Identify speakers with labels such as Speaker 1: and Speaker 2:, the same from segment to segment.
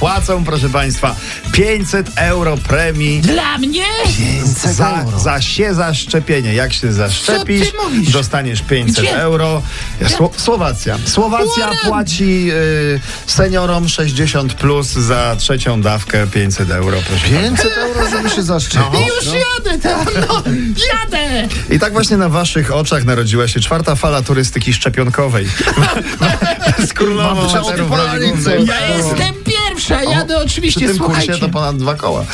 Speaker 1: Płacą, proszę Państwa, 500 euro premii
Speaker 2: Dla mnie?
Speaker 3: 500
Speaker 1: za,
Speaker 3: euro.
Speaker 1: za się zaszczepienie. Jak się zaszczepisz,
Speaker 2: Co ty mówisz?
Speaker 1: dostaniesz 500
Speaker 2: Gdzie?
Speaker 1: euro. Sło- Słowacja. Słowacja
Speaker 2: Ładnie.
Speaker 1: płaci y, seniorom 60 plus za trzecią dawkę 500 euro, proszę Państwa.
Speaker 3: 500 euro, żeby się
Speaker 1: No,
Speaker 3: zaszczepić.
Speaker 2: Już jadę tam, no, jadę!
Speaker 1: I tak właśnie na waszych oczach narodziła się czwarta fala turystyki szczepionkowej. Z królową
Speaker 3: Mam
Speaker 1: Macerów
Speaker 3: przeodpalić
Speaker 1: Roli
Speaker 3: coś.
Speaker 1: Głównej.
Speaker 2: Ja jestem pierwsza, jadę
Speaker 1: Przy
Speaker 2: oczywiście,
Speaker 1: tym kursie
Speaker 2: słuchajcie.
Speaker 1: to ponad dwa koła.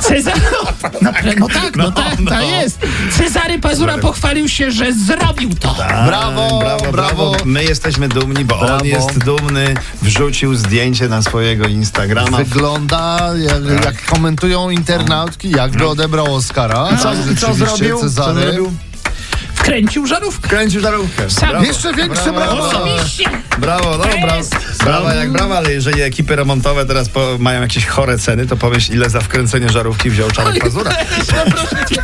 Speaker 2: Cezarowa. No, no tak, no,
Speaker 1: no,
Speaker 2: tak,
Speaker 1: no.
Speaker 2: to jest. Cezary Pazura pochwalił się, że zrobił to.
Speaker 1: Tak. brawo,
Speaker 3: Brawo,
Speaker 1: brawo.
Speaker 3: brawo.
Speaker 1: My jesteśmy dumni, bo
Speaker 3: Brawo.
Speaker 1: on jest dumny. Wrzucił zdjęcie na swojego Instagrama.
Speaker 3: Wygląda,
Speaker 1: Tak.
Speaker 3: jak, jak komentują internautki, jakby odebrał Oscara.
Speaker 1: No. Co,
Speaker 3: Tak,
Speaker 1: co
Speaker 3: rzeczywiście,
Speaker 1: zrobił? Co
Speaker 3: Cezary.
Speaker 1: zrobił?
Speaker 2: Wkręcił żarówkę.
Speaker 1: Kręcił żarówkę.
Speaker 2: Sam.
Speaker 1: Brawo.
Speaker 3: Jeszcze większe brawo.
Speaker 2: Oczywiście.
Speaker 1: Brawo, no,
Speaker 2: To
Speaker 1: brawo.
Speaker 2: jest-
Speaker 1: Brawa jak brawa, ale jeżeli ekipy remontowe teraz po, mają jakieś chore ceny, to pomyśl, ile za wkręcenie żarówki wziął Czarek Pazura.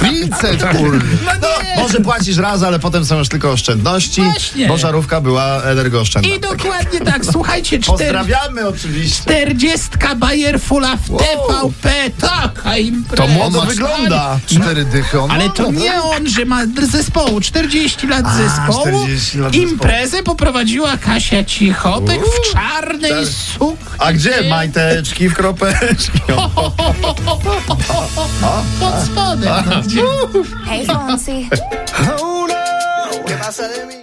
Speaker 3: 500 kurde.
Speaker 1: No, może płacisz raz, ale potem są już tylko oszczędności,
Speaker 2: Właśnie.
Speaker 1: bo żarówka była energooszczędna.
Speaker 2: I dokładnie tak, słuchajcie, czter-
Speaker 1: Pozdrawiamy oczywiście.
Speaker 2: 40 Bayer Fula w TVP, taka impreza.
Speaker 1: To młodo
Speaker 3: ma
Speaker 1: wygląda.
Speaker 3: Cztery dychy. On
Speaker 2: Ale
Speaker 3: ma,
Speaker 2: to
Speaker 3: no,
Speaker 2: nie on, że ma dr- zespołu. 40 lat zespołu.
Speaker 1: 40 lat zespołu.
Speaker 2: Imprezę poprowadziła Kasia Cichotek w czarnej
Speaker 1: tak.
Speaker 2: sukni.
Speaker 1: A gdzie majteczki w kropeczki?
Speaker 2: Pod spodem. No.
Speaker 4: Hey, Fonzie.
Speaker 3: Oh no.
Speaker 5: ¿Qué pasa de mí?